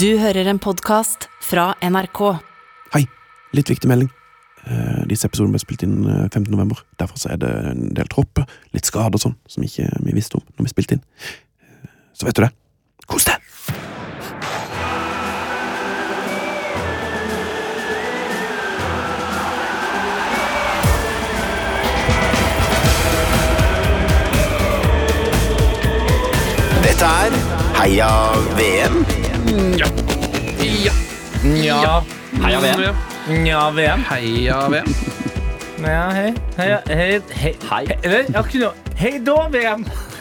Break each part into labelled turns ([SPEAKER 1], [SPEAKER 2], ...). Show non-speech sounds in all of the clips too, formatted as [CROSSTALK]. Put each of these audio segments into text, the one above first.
[SPEAKER 1] Du hører en podkast fra NRK.
[SPEAKER 2] Hei, litt viktig melding. Eh, Disse episodene ble spilt inn eh, 15. november. Derfor så er det en del tropper, litt skader og sånn, som ikke vi visste om når vi spilte inn. Eh, Så vet du det. Kos deg!
[SPEAKER 3] Dette er Heia VM.
[SPEAKER 4] Ja. Heia VM.
[SPEAKER 5] Nja, VM.
[SPEAKER 4] Heia VM.
[SPEAKER 5] Ja, hei. Hei, hei, hei.
[SPEAKER 4] Hei.
[SPEAKER 5] Eller, jeg har ikke noe. Hei da, VM!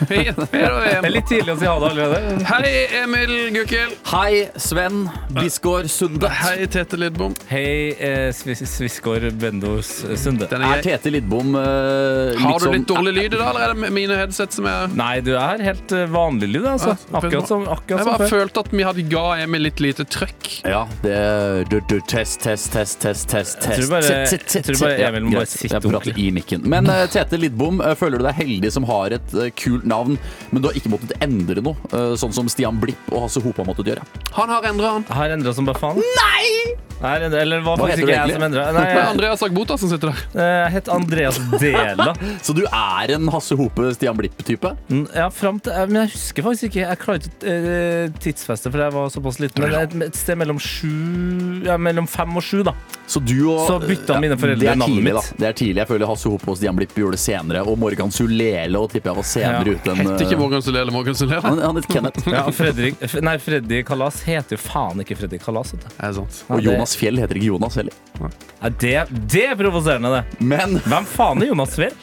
[SPEAKER 4] Heia
[SPEAKER 5] Det er
[SPEAKER 4] VM.
[SPEAKER 5] litt tidlig å si ha det allerede.
[SPEAKER 4] Hei, Emil Gukild.
[SPEAKER 6] Hei, Sven Bisgaard Sunde.
[SPEAKER 4] Hei, Tete Lidbom.
[SPEAKER 5] Hei, eh, Svis- Svisgaard Bendos Sunde.
[SPEAKER 4] Den
[SPEAKER 6] Er
[SPEAKER 4] er grei.
[SPEAKER 6] Tete Lidbom eh,
[SPEAKER 4] Har du
[SPEAKER 2] sånn-
[SPEAKER 6] liksom-
[SPEAKER 4] litt dårlig lyd i dag, eller er det mine headset som er
[SPEAKER 5] Nei, du er helt eh, vanlig lyd, altså.
[SPEAKER 4] Ja,
[SPEAKER 5] Akkurat som,
[SPEAKER 4] Jeg
[SPEAKER 5] akkurat som
[SPEAKER 4] bare
[SPEAKER 5] sånn før.
[SPEAKER 4] følte at vi hadde ga Emil litt lite trøkk.
[SPEAKER 6] Ja, det er du, du, Test, test, test, test, test.
[SPEAKER 5] tror
[SPEAKER 6] test,
[SPEAKER 5] bare-
[SPEAKER 6] test, test,
[SPEAKER 5] jeg tror
[SPEAKER 6] test.
[SPEAKER 5] bare
[SPEAKER 6] Ja,
[SPEAKER 5] Emil må bare
[SPEAKER 6] greit.
[SPEAKER 5] sitte
[SPEAKER 6] Jeg prater
[SPEAKER 5] ordentlig.
[SPEAKER 6] i mikken. Men eh, Tete Lidbom, eh, føler du deg heldig som har et eh, kult navn, men du har ikke måttet endre noe, eh, sånn som Stian Blipp og Hasse Hope har måttet gjøre?
[SPEAKER 4] Han har endra, han.
[SPEAKER 5] Jeg har endra som bare faen. Nei! endret, eller det var
[SPEAKER 6] Hva
[SPEAKER 5] faktisk
[SPEAKER 6] heter du
[SPEAKER 5] ikke jeg
[SPEAKER 6] egentlig?
[SPEAKER 5] som endra.
[SPEAKER 4] [LAUGHS]
[SPEAKER 5] Nei,
[SPEAKER 4] Det er
[SPEAKER 5] jeg,
[SPEAKER 4] Andreas Agbota som sitter der.
[SPEAKER 5] eh, jeg het Andreas Dela.
[SPEAKER 6] Så du er en Hasse Hope, Stian Blipp-type?
[SPEAKER 5] Mm, Ja, fram til, eh, men jeg husker faktisk ikke. Jeg klarer ikke å eh, tidsfeste, for jeg var såpass liten. Men et, et sted mellom, sju, ja, mellom fem og sju, da.
[SPEAKER 6] Så du og
[SPEAKER 5] Så bytta mine foreldre
[SPEAKER 6] det er
[SPEAKER 5] navnet
[SPEAKER 6] tidlig,
[SPEAKER 5] mitt.
[SPEAKER 6] Da. Det er tidlig. Jeg føler Hasse Hope og Stian Blipp gjorde det senere. Og Morgan Sulele og tipper jeg var senere
[SPEAKER 5] Ja,
[SPEAKER 6] ute enn
[SPEAKER 4] Het ikke
[SPEAKER 6] eh,
[SPEAKER 4] Morgan Sulele Morgan Sulele.
[SPEAKER 6] Han, han het Kenneth.
[SPEAKER 5] [LAUGHS] Ja, Fredrik, F- nei, Freddy Kalas heter jo faen ikke Freddy Kalas. Vet du.
[SPEAKER 4] Er det sant?
[SPEAKER 6] Og
[SPEAKER 5] Ja, det-
[SPEAKER 6] Jonas Fjell heter ikke Jonas heller.
[SPEAKER 5] Ja, det, det er provoserende, det.
[SPEAKER 6] Men
[SPEAKER 5] Hvem faen er Jonas Fjell?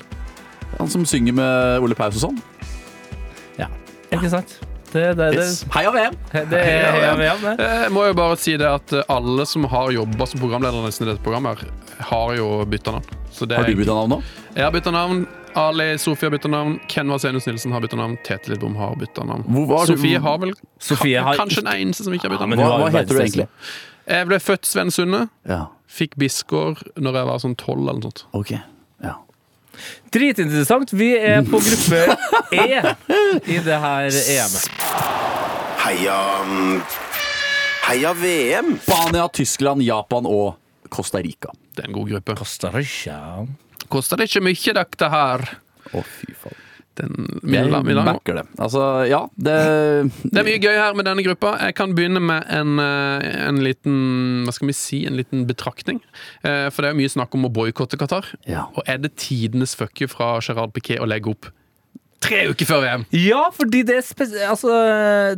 [SPEAKER 6] han som synger med Ole Paus og sånn.
[SPEAKER 5] Ikke sant? Det, det, det,
[SPEAKER 6] Yes. Heia VM!
[SPEAKER 5] det, er heia VM, det.
[SPEAKER 4] Eh, Jeg må jo bare si det at eh, alle som har jobba som programleder nesten i dette programmet, her, har jo bytta navn. Så det
[SPEAKER 6] Har
[SPEAKER 4] er,
[SPEAKER 6] du bytta navn nå?
[SPEAKER 4] jeg har bytta navn. Ali Sofie har bytta navn. Ken Vasenius Nilsen har bytta navn. Tete Lidbom har bytta navn.
[SPEAKER 6] Hvor var du-
[SPEAKER 4] Sofie har vel
[SPEAKER 5] Sofie har
[SPEAKER 4] kanskje den eneste som ikke har bytta
[SPEAKER 5] men
[SPEAKER 4] navn.
[SPEAKER 5] hun
[SPEAKER 6] Hva,
[SPEAKER 5] har jo
[SPEAKER 6] hva heter du
[SPEAKER 5] verdens
[SPEAKER 6] egentlig?
[SPEAKER 4] Jeg ble født Sven Sunde.
[SPEAKER 6] Ja,
[SPEAKER 4] Fikk Bisgaard når jeg var sånn tolv eller noe sånt.
[SPEAKER 6] ok. Ja.
[SPEAKER 5] Dritinteressant. Vi er på gruppe E i det her EM-et.
[SPEAKER 3] Heia mm, Heia VM.
[SPEAKER 6] Spania, Tyskland, Japan og Costa Rica.
[SPEAKER 4] Det er en god gruppe.
[SPEAKER 5] Costa Rica.
[SPEAKER 4] Koster det ikke mye, dette her?
[SPEAKER 6] Å, fy faen.
[SPEAKER 4] Den,
[SPEAKER 6] Jeg
[SPEAKER 4] Milan, Milan.
[SPEAKER 6] backer det. Altså, ja, det
[SPEAKER 4] Det er mye gøy her med denne gruppa. Jeg kan begynne med en, eh, en liten Hva skal vi si, en liten betraktning. Eh, For det er jo mye snakk om å boikotte Qatar.
[SPEAKER 6] Ja.
[SPEAKER 4] Og er det tidenes fuck you fra Gerard Piquet å legge opp tre uker før VM?
[SPEAKER 5] Ja, fordi det er spes... Altså,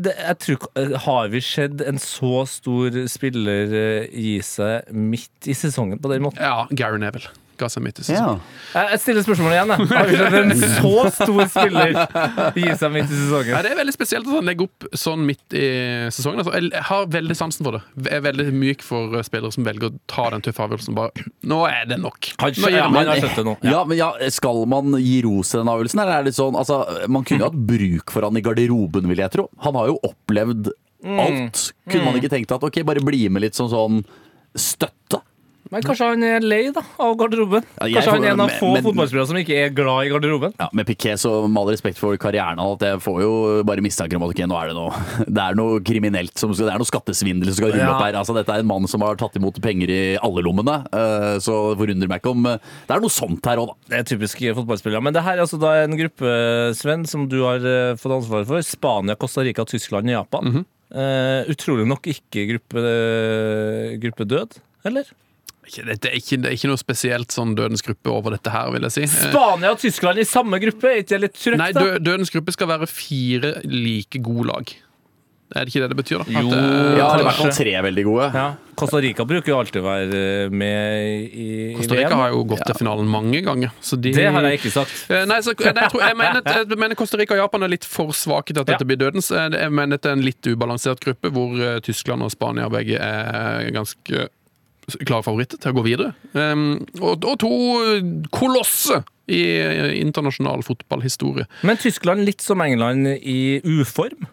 [SPEAKER 5] det, jeg tror ikke- Har vi sett en så stor spiller eh, gi seg midt i sesongen på den måten?
[SPEAKER 4] Ja, Gary Neville ga seg midt i sesongen.
[SPEAKER 6] Ja.
[SPEAKER 5] Jeg Eh, jeg stiller spørsmålet igjen. Jeg. Har vi sett en så stor spiller gi seg midt i
[SPEAKER 4] Ja,
[SPEAKER 5] sesongen?
[SPEAKER 4] det er veldig spesielt at han legger opp sånn midt i sesongen. Altså, jeg har veldig sansen for det. Jeg er veldig myk for eh, spillere som velger å ta den tøffe avgjørelsen. Bare, nå er det nok.
[SPEAKER 5] Han
[SPEAKER 4] Nå gir
[SPEAKER 5] skjønner-
[SPEAKER 4] vi
[SPEAKER 5] Men jeg har skjønt det nå.
[SPEAKER 6] Ja. men ja, Skal man gi ros til den avgjørelsen? Eller er det litt sånn, altså, man kunne jo hatt bruk for han i garderoben, vil jeg tro. Han har jo opplevd
[SPEAKER 5] Mm.
[SPEAKER 6] alt. Kunne man ikke tenkt at ok, bare bli med litt som sånn støtte?
[SPEAKER 5] Men kanskje han er lei da, av garderoben?
[SPEAKER 6] Ja, jeg
[SPEAKER 5] Kanskje han er en av
[SPEAKER 6] får-
[SPEAKER 5] få
[SPEAKER 6] men-
[SPEAKER 5] fotballspillere som ikke er glad i garderoben?
[SPEAKER 6] Ja, Med Piquet, så med all respekt for karrieren hans, at jeg får jo bare mistanker om at ok, nå er det noe [LAUGHS] Det er noe kriminelt som skal Det er noe skattesvindel som skal rulle
[SPEAKER 5] Ja.
[SPEAKER 6] opp her. Altså, Dette er en mann som har tatt imot penger i alle lommene, eh, så det forundrer meg ikke om eh, Det er noe sånt her òg, da.
[SPEAKER 5] Det er typisk fotballspillere. Men det her er altså da en gruppe, Sven, som du har eh, fått ansvaret for. Spania, Costa Rica, Tyskland og Japan.
[SPEAKER 4] Mhm.
[SPEAKER 5] Eh, utrolig nok ikke gruppe, eh, gruppe død, eller?
[SPEAKER 4] Ikke- Det, det, er ikke, det er ikke noe spesielt sånn Dødens gruppe over dette her, vil jeg si. Eh,
[SPEAKER 5] Spania og Tyskland i samme gruppe, er ikke det litt trøkt,
[SPEAKER 4] Nei,
[SPEAKER 5] da?
[SPEAKER 4] dø, Dødens gruppe skal være fire like gode lag. Er det ikke det det betyr, da?
[SPEAKER 5] Jo.
[SPEAKER 4] eh,
[SPEAKER 6] Ja,
[SPEAKER 5] kanskje.
[SPEAKER 6] det er i hvert fall tre veldig gode.
[SPEAKER 5] Ja. Costa Rica bruker jo alltid å være eh, med i, i
[SPEAKER 4] Costa Rica
[SPEAKER 5] VM.
[SPEAKER 4] har jo gått til finalen mange ganger. Så de,
[SPEAKER 5] Det har jeg ikke sagt.
[SPEAKER 4] Eh, Nei, så, jeg, tror, jeg, mener, at- jeg mener Costa Rica og Japan er litt for svake til at
[SPEAKER 5] Ja.
[SPEAKER 4] dette blir dødens. Eh, Jeg mener at det er en litt ubalansert gruppe, hvor eh, Tyskland og Spania begge er ganske klare favoritter til å gå videre. Um, og, og to kolosser i eh, internasjonal fotballhistorie.
[SPEAKER 5] Men Tyskland, litt som England, i uform.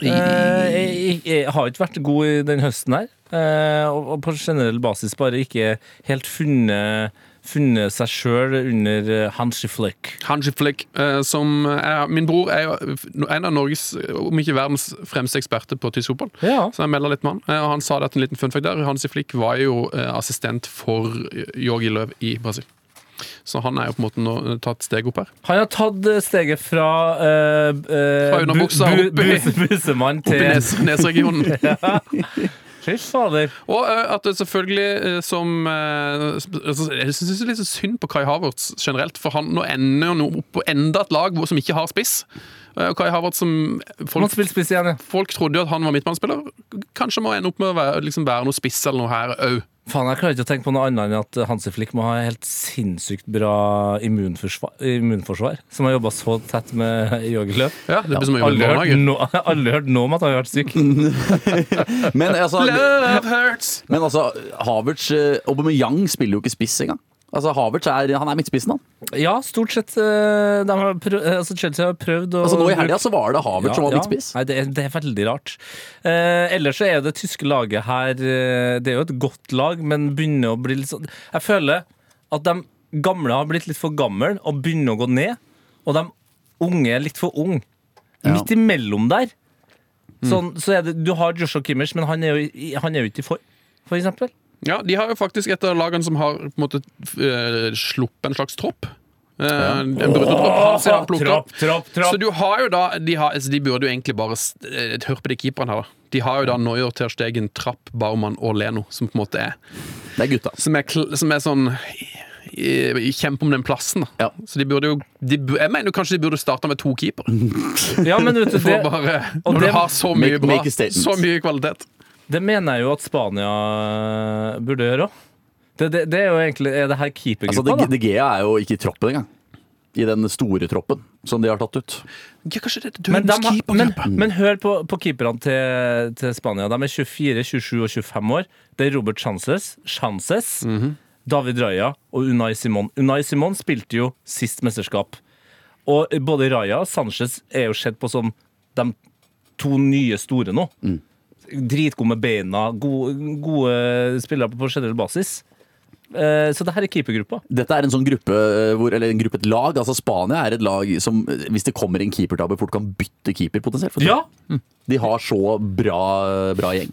[SPEAKER 5] Eh, jeg- jeg har ikke vært god i den høsten her. Eh, og, og på generell basis bare ikke helt funnet funnet seg sjøl under eh, Hansi Flick.
[SPEAKER 4] Hansi Flick, eh, som er, Min bror er jo en av Norges, om ikke verdens, fremste eksperter på tysk fotball.
[SPEAKER 5] Ja.
[SPEAKER 4] Så jeg meldet litt med han. Eh, og han sa det at en liten fun fact der. Hansi Flick var jo eh, assistent for Jorgi Løv i Brasil. Så han er jo på en måte nå eh, tatt steg opp her.
[SPEAKER 5] Han har tatt eh, steget fra eh, eh,
[SPEAKER 4] Fra underbuksa
[SPEAKER 5] bu-
[SPEAKER 4] opp
[SPEAKER 5] bu-
[SPEAKER 4] i-
[SPEAKER 5] bus- Busemann
[SPEAKER 4] Opp i
[SPEAKER 5] til
[SPEAKER 4] nes, Nesregionen.
[SPEAKER 5] Fy fader.
[SPEAKER 4] Og eh, at det selvfølgelig eh, som eh, sp- altså, Jeg syns det er litt så synd på Kai Havertz generelt, for han nå ender han opp på enda et lag hvor- som ikke har spiss. Eh, og Kai Havertz som
[SPEAKER 5] Han
[SPEAKER 4] folk,
[SPEAKER 5] spiller spiss igjen, ja.
[SPEAKER 4] folk trodde jo at han var midtbanespiller. Kanskje må ende opp med å være, liksom, være noe spiss eller noe her òg.
[SPEAKER 5] Faen, jeg klarer ikke å tenke på noe annet enn at Hansi Flick må ha helt sinnssykt bra immunforsvar, immunforsvar som har jobba så tett med Jorgi Løv.
[SPEAKER 4] Ja, det blir som å jobbe i
[SPEAKER 5] Aldri hørt
[SPEAKER 4] barnehage.
[SPEAKER 5] no- [LAUGHS] aldri hørt noe om at han har vært syk.
[SPEAKER 6] Mm. Men
[SPEAKER 5] [LAUGHS]
[SPEAKER 6] altså,
[SPEAKER 4] Love hurts!
[SPEAKER 6] men altså Havertz eh, Aubameyang spiller jo ikke spiss engang. Altså, Havertz er, han er midtspissen, han.
[SPEAKER 5] Ja, stort sett. eh, De har prøv, eh, altså Chelsea har prøvd å
[SPEAKER 6] Altså, nå i helga så var det Havertz
[SPEAKER 5] Ja,
[SPEAKER 6] som var
[SPEAKER 5] ja.
[SPEAKER 6] midtspiss.
[SPEAKER 5] Nei, det, er, det er veldig rart. Eh, ellers så er jo det tyske laget her eh, Det er jo et godt lag, men begynner å bli litt sånn Jeg føler at de gamle har blitt litt for gamle og begynner å gå ned. Og de unge er litt for unge.
[SPEAKER 6] Ja.
[SPEAKER 5] Midt imellom der.
[SPEAKER 4] Mm.
[SPEAKER 5] Sånn, så er det, du har Joshua Kimmers, men han er jo, i- han er jo ikke i form, for eksempel.
[SPEAKER 4] Ja, de har jo faktisk et av lagene som har på en måte eh, sluppet en slags tropp. Eh, En bruttotropp. Han ser han plukker opp.
[SPEAKER 5] trapp,
[SPEAKER 4] Så du har jo da De, har, altså, de burde jo egentlig bare s- eh, Hør på de keeperne her, da. De har jo da Neuer, Ter Stegen, Trapp, Baumann og Leno, som på en måte er
[SPEAKER 6] Det er gutta.
[SPEAKER 4] Som er, kl- som er sånn i- i- Kjempe om den plassen, da.
[SPEAKER 6] Ja.
[SPEAKER 4] Så de burde jo de, bu- Jeg mener jo kanskje de burde starta med to keepere.
[SPEAKER 5] Ja, men vet du,
[SPEAKER 4] For å
[SPEAKER 5] det,
[SPEAKER 4] bare,
[SPEAKER 5] og
[SPEAKER 4] når
[SPEAKER 5] det-
[SPEAKER 4] du har så mye
[SPEAKER 6] Make-
[SPEAKER 4] bra,
[SPEAKER 6] make a statement.
[SPEAKER 4] så mye kvalitet.
[SPEAKER 5] det mener jeg jo at Spania burde gjøre òg. Det, det, det er jo egentlig Er det her
[SPEAKER 6] Altså,
[SPEAKER 5] keepergruppa,
[SPEAKER 6] De,
[SPEAKER 5] da?
[SPEAKER 6] de Gea er jo ikke i troppen engang. I den store troppen som de har tatt ut.
[SPEAKER 4] Ja, kanskje det er
[SPEAKER 5] Men, dem
[SPEAKER 4] dødens
[SPEAKER 5] har- men,
[SPEAKER 4] keepergruppe.
[SPEAKER 5] men hør på, på keeperne til, til Spania. De er 24, 27 og 25 år. Det er Robert Chances, Chances David Raja og Unai Simon. Unai Simon spilte jo sist mesterskap. Og både Raja og Sanchez er jo sett på som de to nye store nå. Dritgod med beina, gode, gode spillere på generell basis. Eh, Så det her er keepergruppa.
[SPEAKER 6] Dette er en sånn gruppe eh, hvor, eller en gruppe, et lag. altså Spania er et lag som, eh, hvis det kommer en keepertabbe, fort kan bytte keeper potensielt. for
[SPEAKER 5] Ja,
[SPEAKER 6] De har så bra, bra gjeng.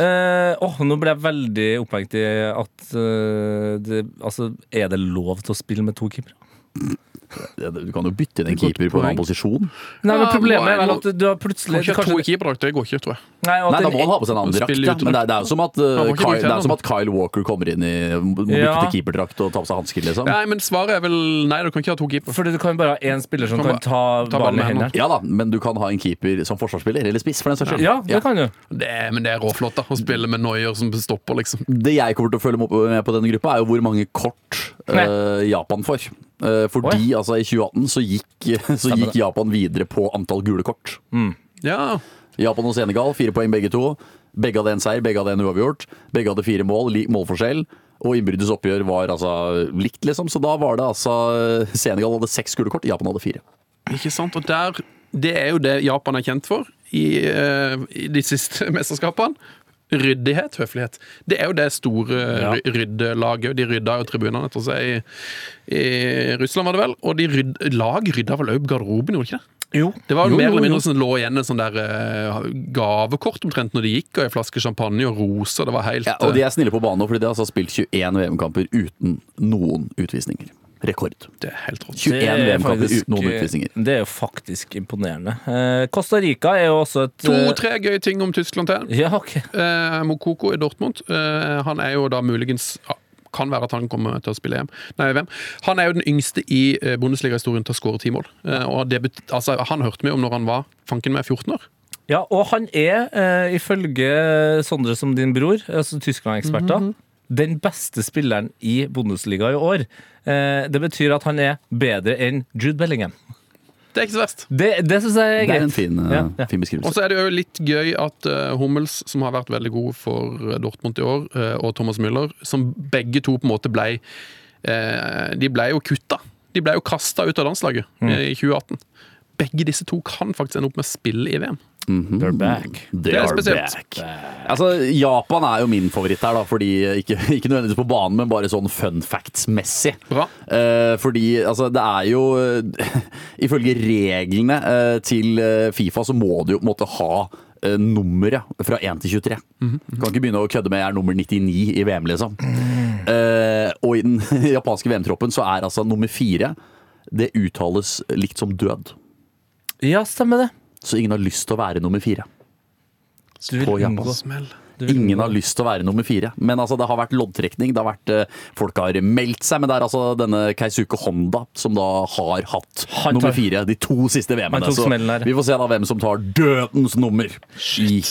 [SPEAKER 5] Eh, åh, nå ble jeg veldig opphengt i at eh, det, Altså, er det lov til å spille med to keepere?
[SPEAKER 6] Ja, Du kan jo bytte inn en
[SPEAKER 4] Godt
[SPEAKER 6] keeper på en
[SPEAKER 4] poeng.
[SPEAKER 6] annen posisjon.
[SPEAKER 5] Nei, men
[SPEAKER 4] Ja,
[SPEAKER 5] Problemet
[SPEAKER 4] må-
[SPEAKER 5] er vel at du har
[SPEAKER 4] Kan
[SPEAKER 5] plutselig
[SPEAKER 4] ikke ha to
[SPEAKER 5] kanskje-
[SPEAKER 4] keeperdrakter, det går ikke, tror jeg.
[SPEAKER 5] Nei, og at
[SPEAKER 6] Nei, da
[SPEAKER 5] en-
[SPEAKER 6] må han ha på seg en annen
[SPEAKER 4] Spille ute
[SPEAKER 6] drakt. Ja. Men det er, det er jo som at, eh,
[SPEAKER 4] må ikke
[SPEAKER 6] Kyle,
[SPEAKER 4] bruke
[SPEAKER 6] det
[SPEAKER 4] hendene.
[SPEAKER 6] er som at Kyle Walker kommer inn i må bytte
[SPEAKER 5] Ja.
[SPEAKER 6] keeperdrakt og ta på seg hansker, liksom.
[SPEAKER 4] Nei, men svaret er vel nei, du kan ikke ha to keepere.
[SPEAKER 5] Fordi du kan bare ha én spiller som
[SPEAKER 4] Kan
[SPEAKER 5] kan
[SPEAKER 4] bare
[SPEAKER 5] ta,
[SPEAKER 4] ta
[SPEAKER 5] ballen i hendene.
[SPEAKER 4] hendene.
[SPEAKER 6] Ja da, men du kan ha en keeper som forsvarsspiller, eller spiss, for den saks skyld.
[SPEAKER 5] Ja, det kan du.
[SPEAKER 4] Det er, men det er råflott da, å spille med Neuer som stopper, liksom.
[SPEAKER 6] Det jeg kommer til å følge med på- med på denne gruppa, er jo hvor mange kort eh, Japan får. Eh, fordi altså, i 2018 så gikk, [LAUGHS] så gikk Japan videre på antall gule kort.
[SPEAKER 4] Ja,
[SPEAKER 6] Japan og Senegal, fire poeng begge to. Begge hadde en seier, begge hadde en uavgjort. Begge hadde fire mål, lik målforskjell. Og innbyrdes oppgjør var altså likt, liksom. Så da var det altså Senegal hadde seks gule kort, Japan hadde fire.
[SPEAKER 4] ikke sant? Og der, det er jo det Japan er kjent for i, eh, i de siste [LAUGHS] mesterskapene. Ryddighet, høflighet. Det er jo det store
[SPEAKER 5] Ja.
[SPEAKER 4] ry- ryddelaget. og De rydda jo tribunene etter seg i, i Russland, var det vel. Og de rydd, lag rydda vel òg garderoben, gjorde de ikke det?
[SPEAKER 5] Jo.
[SPEAKER 4] Det var jo
[SPEAKER 5] Jo,
[SPEAKER 4] mer
[SPEAKER 5] jo,
[SPEAKER 4] eller
[SPEAKER 5] jo.
[SPEAKER 4] mindre sånn lå igjen et sånn der eh, gavekort omtrent når de gikk, og ei flaske champagne og roser. Det var helt
[SPEAKER 6] Ja, og de
[SPEAKER 4] eh,
[SPEAKER 6] er snille på banen nå, fordi de har altså spilt 21 VM-kamper uten noen utvisninger. Rekord.
[SPEAKER 4] eh, det er eh, helt rått.
[SPEAKER 6] 21
[SPEAKER 5] Det er
[SPEAKER 6] VM-kamper
[SPEAKER 5] faktisk-
[SPEAKER 6] uten noen utvisninger.
[SPEAKER 5] Det er jo faktisk imponerende. Eh, Costa Rica er jo også et eh,
[SPEAKER 4] To-tre gøye ting om Tyskland til.
[SPEAKER 5] Ja, ok.
[SPEAKER 4] Eh, Mokoko i Dortmund. Eh, han er jo da muligens ja, Kan være at han kommer til å spille EM. Nei, VM. Han er jo den yngste i eh, Bundesliga-historien til å skåre ti mål. Eh, og det bet altså, han hørte vi om når han var fanken meg 14 år.
[SPEAKER 5] Ja, og han er, eh, ifølge Sondre som din bror, altså Tyskland-eksperter,
[SPEAKER 6] Mhm.
[SPEAKER 5] den beste spilleren i Bundesliga i år. Eh, det betyr at han er bedre enn Jude Bellingham.
[SPEAKER 4] Det er ikke så verst.
[SPEAKER 5] Det, det syns jeg er
[SPEAKER 6] Det er en
[SPEAKER 5] greit.
[SPEAKER 6] fin, eh,
[SPEAKER 5] Ja, ja.
[SPEAKER 6] fin
[SPEAKER 4] Og
[SPEAKER 6] beskrivelse.
[SPEAKER 4] så er det jo litt gøy at eh, Hummels, som har vært veldig god for eh, Dortmund i år, eh, og Thomas Müller, som begge to på en måte blei eh, De blei jo kutta. De blei jo kasta ut av landslaget eh, i 2018. Begge disse to kan faktisk ende opp med å spille i VM.
[SPEAKER 5] They're back.
[SPEAKER 6] They
[SPEAKER 4] Det er
[SPEAKER 6] are
[SPEAKER 4] spesielt.
[SPEAKER 6] back. Altså, Japan er jo min favoritt her, da, fordi ikke, ikke nødvendigvis på banen, men bare sånn fun facts-messig.
[SPEAKER 4] Bra.
[SPEAKER 6] Eh, fordi altså, det er jo eh, [LAUGHS] Ifølge reglene eh, til eh, Fifa så må du jo på en måte ha eh, nummeret fra 1 til 23.
[SPEAKER 4] Mhm.
[SPEAKER 6] Kan ikke begynne å kødde med 'jeg er nummer 99 i VM', liksom. Eh, og i den [LAUGHS] japanske VM-troppen så er altså nummer fire Det uttales likt som død.
[SPEAKER 5] Ja, stemmer det.
[SPEAKER 6] Så ingen har lyst til å være nummer fire.
[SPEAKER 5] Du vil
[SPEAKER 6] På Japan.
[SPEAKER 5] unngå.
[SPEAKER 4] Smell.
[SPEAKER 5] Du vil
[SPEAKER 6] Ingen
[SPEAKER 5] unngå.
[SPEAKER 6] har lyst til å være nummer fire. Men altså, det har vært loddtrekning. Det har vært, eh, folk har meldt seg. Men det er altså denne Keisuke Honda som da har hatt
[SPEAKER 5] Han tar-
[SPEAKER 6] nummer fire de to siste
[SPEAKER 5] Han
[SPEAKER 6] VM-ene.
[SPEAKER 5] tok
[SPEAKER 6] Så
[SPEAKER 5] smellen her.
[SPEAKER 6] vi får se da hvem som tar dødens nummer i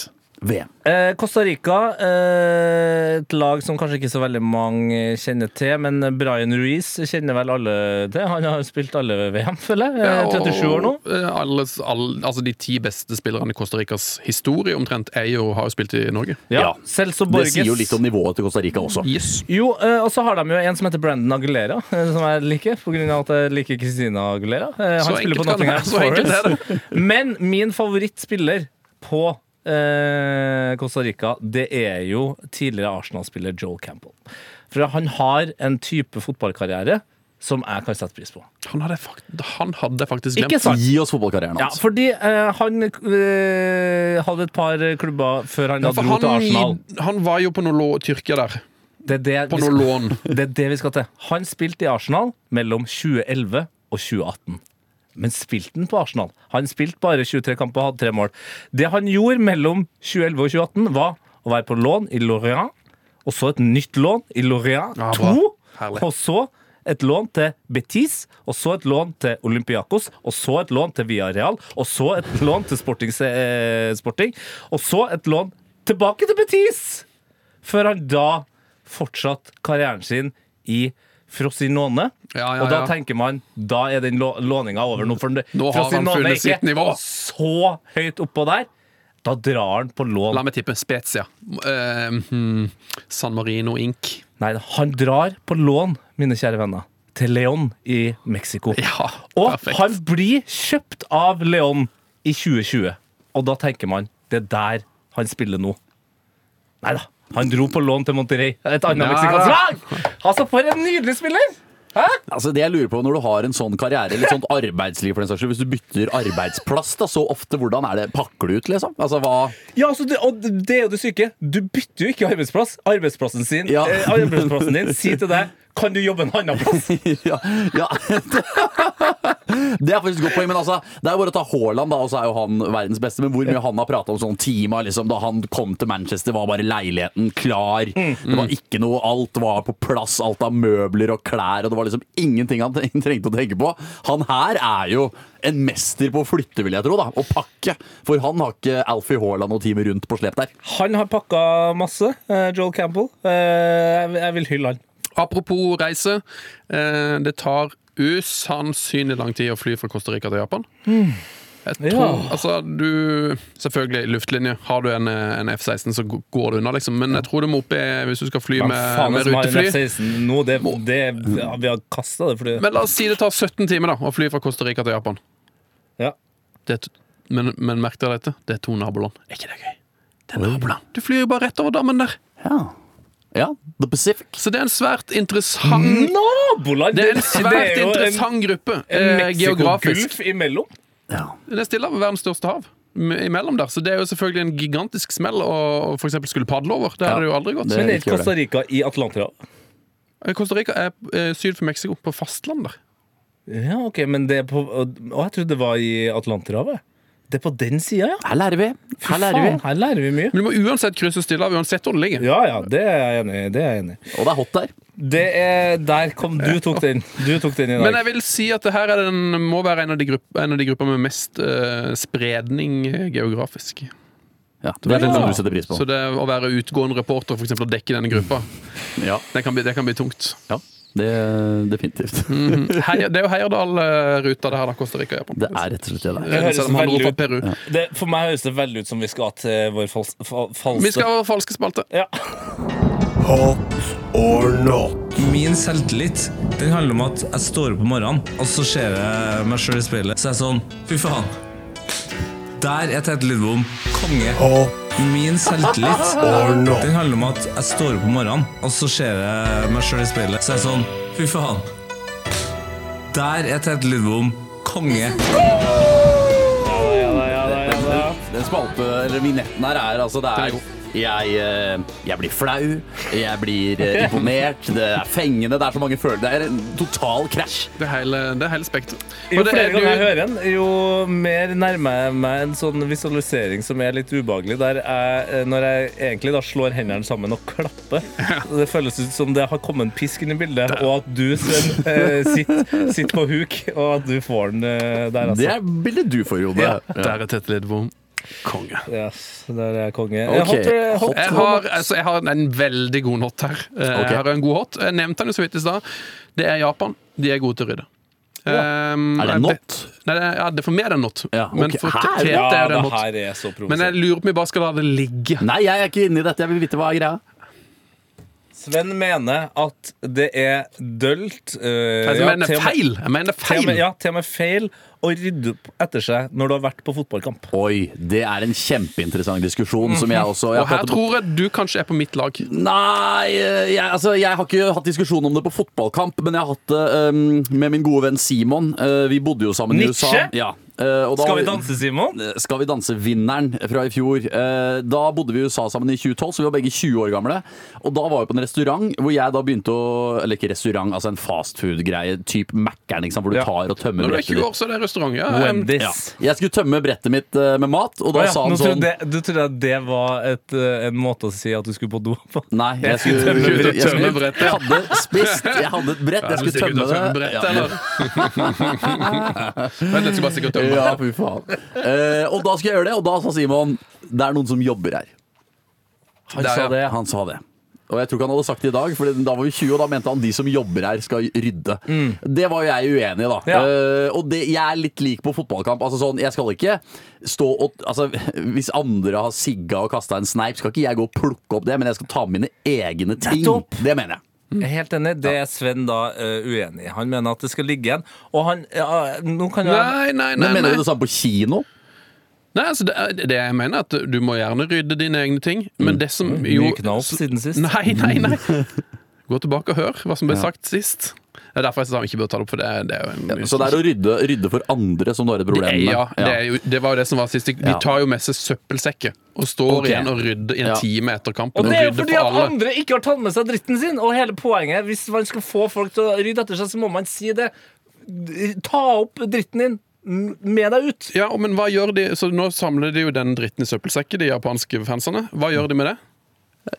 [SPEAKER 6] VM.
[SPEAKER 5] Eh, Costa Rica, eh, et lag som kanskje ikke så veldig mange kjenner til, men Brian Ruiz kjenner vel alle til. Han har spilt alle VM, føler jeg. Eh, 37 år nå.
[SPEAKER 4] Eh, Alles, all, altså de ti beste spillerne i Costa Ricas historie omtrent er jo, har jo spilt i Norge.
[SPEAKER 5] Ja,
[SPEAKER 6] Ja.
[SPEAKER 5] Celso
[SPEAKER 6] Det
[SPEAKER 5] Borges.
[SPEAKER 6] sier jo litt om nivået til Costa Rica også.
[SPEAKER 4] Yes.
[SPEAKER 5] Jo, eh, og så har de jo en som heter Brandon Aguilera, eh, som jeg liker, på grunn av at jeg liker Christina Aguilera. Eh,
[SPEAKER 4] Så
[SPEAKER 5] Han spiller
[SPEAKER 4] enkelt
[SPEAKER 5] på
[SPEAKER 4] kan det
[SPEAKER 5] Nottingham
[SPEAKER 4] være, så enkelt er
[SPEAKER 5] Forest. Men min favorittspiller på eh, Costa Rica, det er jo tidligere Arsenal-spiller Joel Campbell. For han har en type fotballkarriere som jeg kan sette pris på.
[SPEAKER 4] Han hadde, fakt han hadde faktisk
[SPEAKER 5] Ikke
[SPEAKER 4] glemt.
[SPEAKER 5] sant?
[SPEAKER 6] Gi oss fotballkarrieren altså.
[SPEAKER 5] Ja,
[SPEAKER 6] hans.
[SPEAKER 5] fordi eh, han eh, hadde et par klubber før han
[SPEAKER 4] Ja,
[SPEAKER 5] da
[SPEAKER 4] for
[SPEAKER 5] dro til Arsenal.
[SPEAKER 4] han, han var jo på noe lå, Tyrkia der.
[SPEAKER 5] Det er det
[SPEAKER 4] På
[SPEAKER 5] vi
[SPEAKER 4] noe
[SPEAKER 5] skal-
[SPEAKER 4] lån.
[SPEAKER 5] Det er det vi skal til. Han spilte i Arsenal mellom 2011 og 2018. Men spilte han på Arsenal? Han spilte bare 23 kamper og hadde tre mål. Det han gjorde mellom 2011 og 2018, var å være på lån i Lorient, og så et nytt lån i Lorient
[SPEAKER 4] Ja,
[SPEAKER 5] 2,
[SPEAKER 4] Ah, bra. Herlig.
[SPEAKER 5] og så et lån til Betis, og så et lån til Olympiakos, og så et lån til Villarreal, og så et lån til Sporting, eh, sporting og så et lån tilbake til Betis! Før han da fortsatt karrieren sin i Frosinone.
[SPEAKER 4] Ja, ja,
[SPEAKER 5] Og da
[SPEAKER 4] ja.
[SPEAKER 5] tenker man da er den lå- låninga over nå. For det-
[SPEAKER 4] Nå har han
[SPEAKER 5] Frosinone
[SPEAKER 4] funnet
[SPEAKER 5] er ikke
[SPEAKER 4] sitt nivå.
[SPEAKER 5] Så høyt oppå der. Da drar han på lån.
[SPEAKER 4] La meg tippe. Spezia. Eh, hmm, San Marino Inc.
[SPEAKER 5] Nei, han drar på lån, mine kjære venner, til Leon i Mexico.
[SPEAKER 4] Ja,
[SPEAKER 5] og
[SPEAKER 4] perfekt.
[SPEAKER 5] han blir kjøpt av Leon i 2020. Og da tenker man det er der han spiller nå. Nei da. Han dro på lån til Monterrey, et annet
[SPEAKER 4] Neida.
[SPEAKER 5] meksikansk lag! Altså, for en nydelig spiller!
[SPEAKER 6] Altså, det jeg lurer på Når du har en sånn karriere, eller
[SPEAKER 5] [LAUGHS]
[SPEAKER 6] et sånt arbeidsliv for den saks skyld, hvis du bytter arbeidsplass da, så ofte, hvordan er det? Pakker du ut, liksom? Altså, hva
[SPEAKER 5] Ja, altså, det, og det er jo det syke. Du bytter jo ikke arbeidsplass. Arbeidsplassen, sin,
[SPEAKER 6] Ja.
[SPEAKER 5] eh, arbeidsplassen din sier til deg Kan du jobbe en annen plass?
[SPEAKER 6] [LAUGHS] ja, ja. Det er faktisk et godt poeng, men altså, det er jo bare å ta Haaland, da, og så er jo han verdens beste. Men hvor mye han har prata om sånne timer liksom, da han kom til Manchester, var bare leiligheten klar. Det var ikke noe, alt var på plass, alt av møbler og klær, og det var liksom ingenting han tre- trengte å tenke på. Han her er jo en mester på å flytte, vil jeg tro, da, og pakke. For han har ikke Alfie Haaland og teamet rundt på slep der.
[SPEAKER 5] Han har pakka masse, eh, Joel Campbell. Eh, jeg- Jeg vil hylle han.
[SPEAKER 4] Apropos reise. eh, Det tar usannsynlig lang tid å fly fra Costa Rica til Japan. Jeg tror,
[SPEAKER 5] Ja.
[SPEAKER 4] altså du, Selvfølgelig, luftlinje. Har du en, eh, en F-16, så g- går det unna, liksom. Men jeg tror du må opp i Hvis du skal fly
[SPEAKER 5] Men
[SPEAKER 4] med,
[SPEAKER 5] faen,
[SPEAKER 4] med
[SPEAKER 5] som har en
[SPEAKER 4] rutefly
[SPEAKER 5] F-16 nå, det, det, ja, vi har kasta det fordi
[SPEAKER 4] Men la oss si det tar 17 timer da å fly fra Costa Rica til Japan.
[SPEAKER 5] ja.
[SPEAKER 4] Det er to, men, men merk deg dette. Det er to naboland. Er ikke det gøy? Det er naboland. Du flyr jo bare rett over dammen der.
[SPEAKER 6] Ja. ja The Pacific.
[SPEAKER 4] Så det er en svært interessant
[SPEAKER 5] Naboland!
[SPEAKER 4] Det er en svært
[SPEAKER 5] jo en-
[SPEAKER 4] interessant gruppe
[SPEAKER 5] en
[SPEAKER 4] eh, geografisk.
[SPEAKER 5] Mexicogolf imellom.
[SPEAKER 4] Det er stille av verdens største hav m- imellom der, så det er jo selvfølgelig en gigantisk smell å å for eksempel skulle padle over. Det
[SPEAKER 6] Ja.
[SPEAKER 4] hadde det jo aldri gått.
[SPEAKER 6] Det-
[SPEAKER 5] Men er
[SPEAKER 6] ikke
[SPEAKER 5] ikke
[SPEAKER 6] gjør
[SPEAKER 5] Costa Rica i Atlanterhavet?
[SPEAKER 4] Eh, Costa Rica er eh, syd for Mexico, på fastland der.
[SPEAKER 5] Ja, ok, men det er på Å, jeg trodde det var i Atlanterhavet. Det er på den sida, ja.
[SPEAKER 6] Her lærer vi. Her lærer vi.
[SPEAKER 5] Faen, her lærer vi mye.
[SPEAKER 4] Men du må uansett krysse Stillehavet, uansett hvor det ligger.
[SPEAKER 5] Ja, ja, det er jeg enig i. Det er jeg enig i.
[SPEAKER 6] Og det er hot der.
[SPEAKER 5] Det er Der kom du tok den. Du tok den i
[SPEAKER 4] Men
[SPEAKER 5] dag.
[SPEAKER 4] jeg vil si at det her er den, må være en av de, grupp, en av de grupper med mest eh, spredning eh, geografisk.
[SPEAKER 6] Ja, det er
[SPEAKER 5] Ja.
[SPEAKER 6] det som du setter pris på.
[SPEAKER 4] Så det å være utgående reporter for eksempel, og dekke denne gruppa,
[SPEAKER 6] Ja,
[SPEAKER 4] det kan bli, det kan bli tungt.
[SPEAKER 6] [LAUGHS] ja det definitivt. [LAUGHS]
[SPEAKER 4] Heier, det er jo Heierdal-ruta, det her, da, Costa Rica og Japan.
[SPEAKER 6] Det er rett og slett det der.
[SPEAKER 5] Det høres
[SPEAKER 4] Selv om han dro
[SPEAKER 5] veldig
[SPEAKER 4] fra
[SPEAKER 5] ut.
[SPEAKER 4] Peru.
[SPEAKER 5] Det, for meg høres det veldig ut som vi skal til vår fals, fa, falske
[SPEAKER 4] Vi skal ha vår falske spalte.
[SPEAKER 5] Ja. Min selvtillit den handler om at jeg står opp om morgenen, og så ser jeg meg sjøl i speilet. Så er jeg sånn Fy faen.
[SPEAKER 7] Der er Tete Lidbom konge. Min selvtillit Den handler om at jeg står opp om morgenen, og så ser jeg meg sjøl i speilet. Så er jeg sånn Fy faen. Der er Tete Lidbom konge.
[SPEAKER 6] Den spalte, eller vignetten her er altså det
[SPEAKER 4] Den er
[SPEAKER 6] er
[SPEAKER 4] god.
[SPEAKER 6] jeg, eh, jeg blir flau, jeg blir eh, imponert, det er fengende, det er så mange følelser. Det er en total krasj.
[SPEAKER 4] Det er hele, det er hele spekteret.
[SPEAKER 5] Jo
[SPEAKER 4] Og det
[SPEAKER 5] flere
[SPEAKER 4] er-
[SPEAKER 5] ganger jeg
[SPEAKER 4] du-
[SPEAKER 5] hører den, jo mer nærmer jeg meg en sånn visualisering som er litt ubehagelig, der jeg, eh, når jeg egentlig da slår hendene sammen og klapper. Det føles ut som det har kommet en pisk inn i bildet, og at du, Sven, eh, sitter sitter på huk, og at du får den eh, der, altså.
[SPEAKER 6] Det er bildet du får, Jode.
[SPEAKER 5] Ja.
[SPEAKER 4] Der er Tete Lidbom konge.
[SPEAKER 5] Yes, der er jeg konge. Jeg
[SPEAKER 6] Ok,
[SPEAKER 5] hopper- hopper-
[SPEAKER 4] Jeg har, altså, jeg har en- en veldig god hot her. Eh,
[SPEAKER 6] Ok.
[SPEAKER 4] Jeg har en god hot. Jeg nevnte den jo så vidt i stad. Det er Japan. De er gode til å rydde. Um,
[SPEAKER 6] Er det
[SPEAKER 4] jeg be-
[SPEAKER 6] not?
[SPEAKER 4] Nei, det er, ja, det er for meg er det not.
[SPEAKER 6] Ja, ok.
[SPEAKER 4] Men for
[SPEAKER 6] Her?
[SPEAKER 4] Tete
[SPEAKER 5] Ja,
[SPEAKER 4] er det
[SPEAKER 5] det
[SPEAKER 4] not.
[SPEAKER 5] her er så
[SPEAKER 4] Men jeg
[SPEAKER 5] provoserende.
[SPEAKER 4] lurer på om vi bare skal la det ligge.
[SPEAKER 6] Nei, jeg er ikke inne i dette. Jeg vil vite hva er greia.
[SPEAKER 5] Sven mener at det er dølt.
[SPEAKER 4] Altså, Jeg
[SPEAKER 5] eh, ja,
[SPEAKER 4] mener det
[SPEAKER 5] til
[SPEAKER 4] er
[SPEAKER 5] og med-
[SPEAKER 4] feil! Jeg mener det er
[SPEAKER 5] Til og med,
[SPEAKER 4] feil.
[SPEAKER 5] ja, til og med feil å rydde opp etter seg når du har vært på fotballkamp.
[SPEAKER 6] Oi, det er en kjempeinteressant diskusjon som jeg også
[SPEAKER 4] Mm.
[SPEAKER 6] jeg
[SPEAKER 4] Og her
[SPEAKER 6] prater-
[SPEAKER 4] tror jeg du kanskje er på mitt lag.
[SPEAKER 6] Mm. Nei, jeg, altså, jeg har ikke hatt diskusjon om det på fotballkamp, men jeg har hatt det um, med min gode venn Simon. Eh, vi bodde jo sammen
[SPEAKER 5] Nietzsche?
[SPEAKER 6] i USA. Ja. eh, og da-
[SPEAKER 5] Skal vi danse, Simon?
[SPEAKER 6] Skal vi danse-vinneren fra i fjor. Eh, Da bodde vi i USA sammen i 2012, så vi var begge 20 år gamle. Og da var vi på en restaurant hvor jeg da begynte å Eller ikke restaurant, altså en fastfood-greie. Type Mækkern, ikke sant, hvor du
[SPEAKER 5] Ja.
[SPEAKER 6] tar og tømmer
[SPEAKER 4] Når du er
[SPEAKER 6] brettet
[SPEAKER 4] 20 år,
[SPEAKER 6] ditt.
[SPEAKER 4] så er det restaurant. Ja, em,
[SPEAKER 5] Wendy's.
[SPEAKER 6] Ja. Jeg skulle tømme brettet mitt eh, med mat, og da
[SPEAKER 5] Å ja,
[SPEAKER 6] sa
[SPEAKER 5] nå
[SPEAKER 6] han
[SPEAKER 5] trodde
[SPEAKER 6] sånn
[SPEAKER 5] jeg- Du trodde at det var et, eh, en måte å si at du skulle på do på?
[SPEAKER 6] Nei, jeg skulle
[SPEAKER 4] tømme brettet.
[SPEAKER 6] jeg skulle-
[SPEAKER 4] Tømme brettet.
[SPEAKER 6] Jeg hadde spist, jeg hadde et brett, jeg
[SPEAKER 4] du
[SPEAKER 6] skulle
[SPEAKER 4] stikker ut av
[SPEAKER 6] tømme det.
[SPEAKER 4] brett,
[SPEAKER 6] Ja,
[SPEAKER 4] eller? [LAUGHS] Vent, jeg skal bare stikke ut tømme.
[SPEAKER 6] Ja, fy faen. Eh, og da skulle jeg gjøre det, og da sa Simon det er noen som jobber her. Han
[SPEAKER 4] Der,
[SPEAKER 6] sa
[SPEAKER 4] ja.
[SPEAKER 6] det. Han sa det. Og jeg tror ikke han hadde sagt det i dag, for da var vi 20, og da mente han de som jobber her, skal rydde. Det var jo jeg uenig i, da.
[SPEAKER 5] Ja.
[SPEAKER 6] Eh, og det, jeg er litt lik på fotballkamp. Altså sånn, Jeg skal ikke stå og Altså, [LAUGHS] hvis andre har sigga og kasta en sneip, skal ikke jeg gå og plukke opp det, men jeg skal ta med mine egne ting.
[SPEAKER 5] Nettopp.
[SPEAKER 6] Det mener jeg.
[SPEAKER 5] Jeg er helt enig. Det er Sven da eh, uenig i. Han mener at det skal ligge igjen. Og han ja, Nå kan jeg
[SPEAKER 4] Nei, nei,
[SPEAKER 6] Men
[SPEAKER 4] nei.
[SPEAKER 6] mener
[SPEAKER 4] nei.
[SPEAKER 6] du det samme på kino?
[SPEAKER 4] Nei, altså det, er- det jeg mener er at du må gjerne rydde dine egne ting, men det som jo
[SPEAKER 5] Mykna opp siden sist.
[SPEAKER 4] Nei, nei, nei. Gå tilbake og hør hva som ble sagt sist. Det er derfor jeg sa vi ikke bør ta det opp, for det, er- det er jo en
[SPEAKER 6] Så det er å rydde, rydde for andre som du har et problem med?
[SPEAKER 4] ja, det, er jo, det var jo det som var sist. De
[SPEAKER 6] Ja.
[SPEAKER 4] tar jo med seg søppelsekker og står
[SPEAKER 6] Ok.
[SPEAKER 4] igjen og rydder i en
[SPEAKER 6] Ja.
[SPEAKER 4] time etter kampen.
[SPEAKER 5] Og det er jo
[SPEAKER 4] rydder
[SPEAKER 5] fordi
[SPEAKER 4] for
[SPEAKER 5] at
[SPEAKER 4] alle.
[SPEAKER 5] andre ikke har tatt med seg dritten sin. Og hele poenget er, hvis man skal få folk til å rydde etter seg, så må man si det. Ta opp dritten din. M- Med deg ut.
[SPEAKER 4] Ja, og men hva gjør de? Så nå samler de jo den dritten i søppelsekken, de japanske fansene. Hva gjør de med det?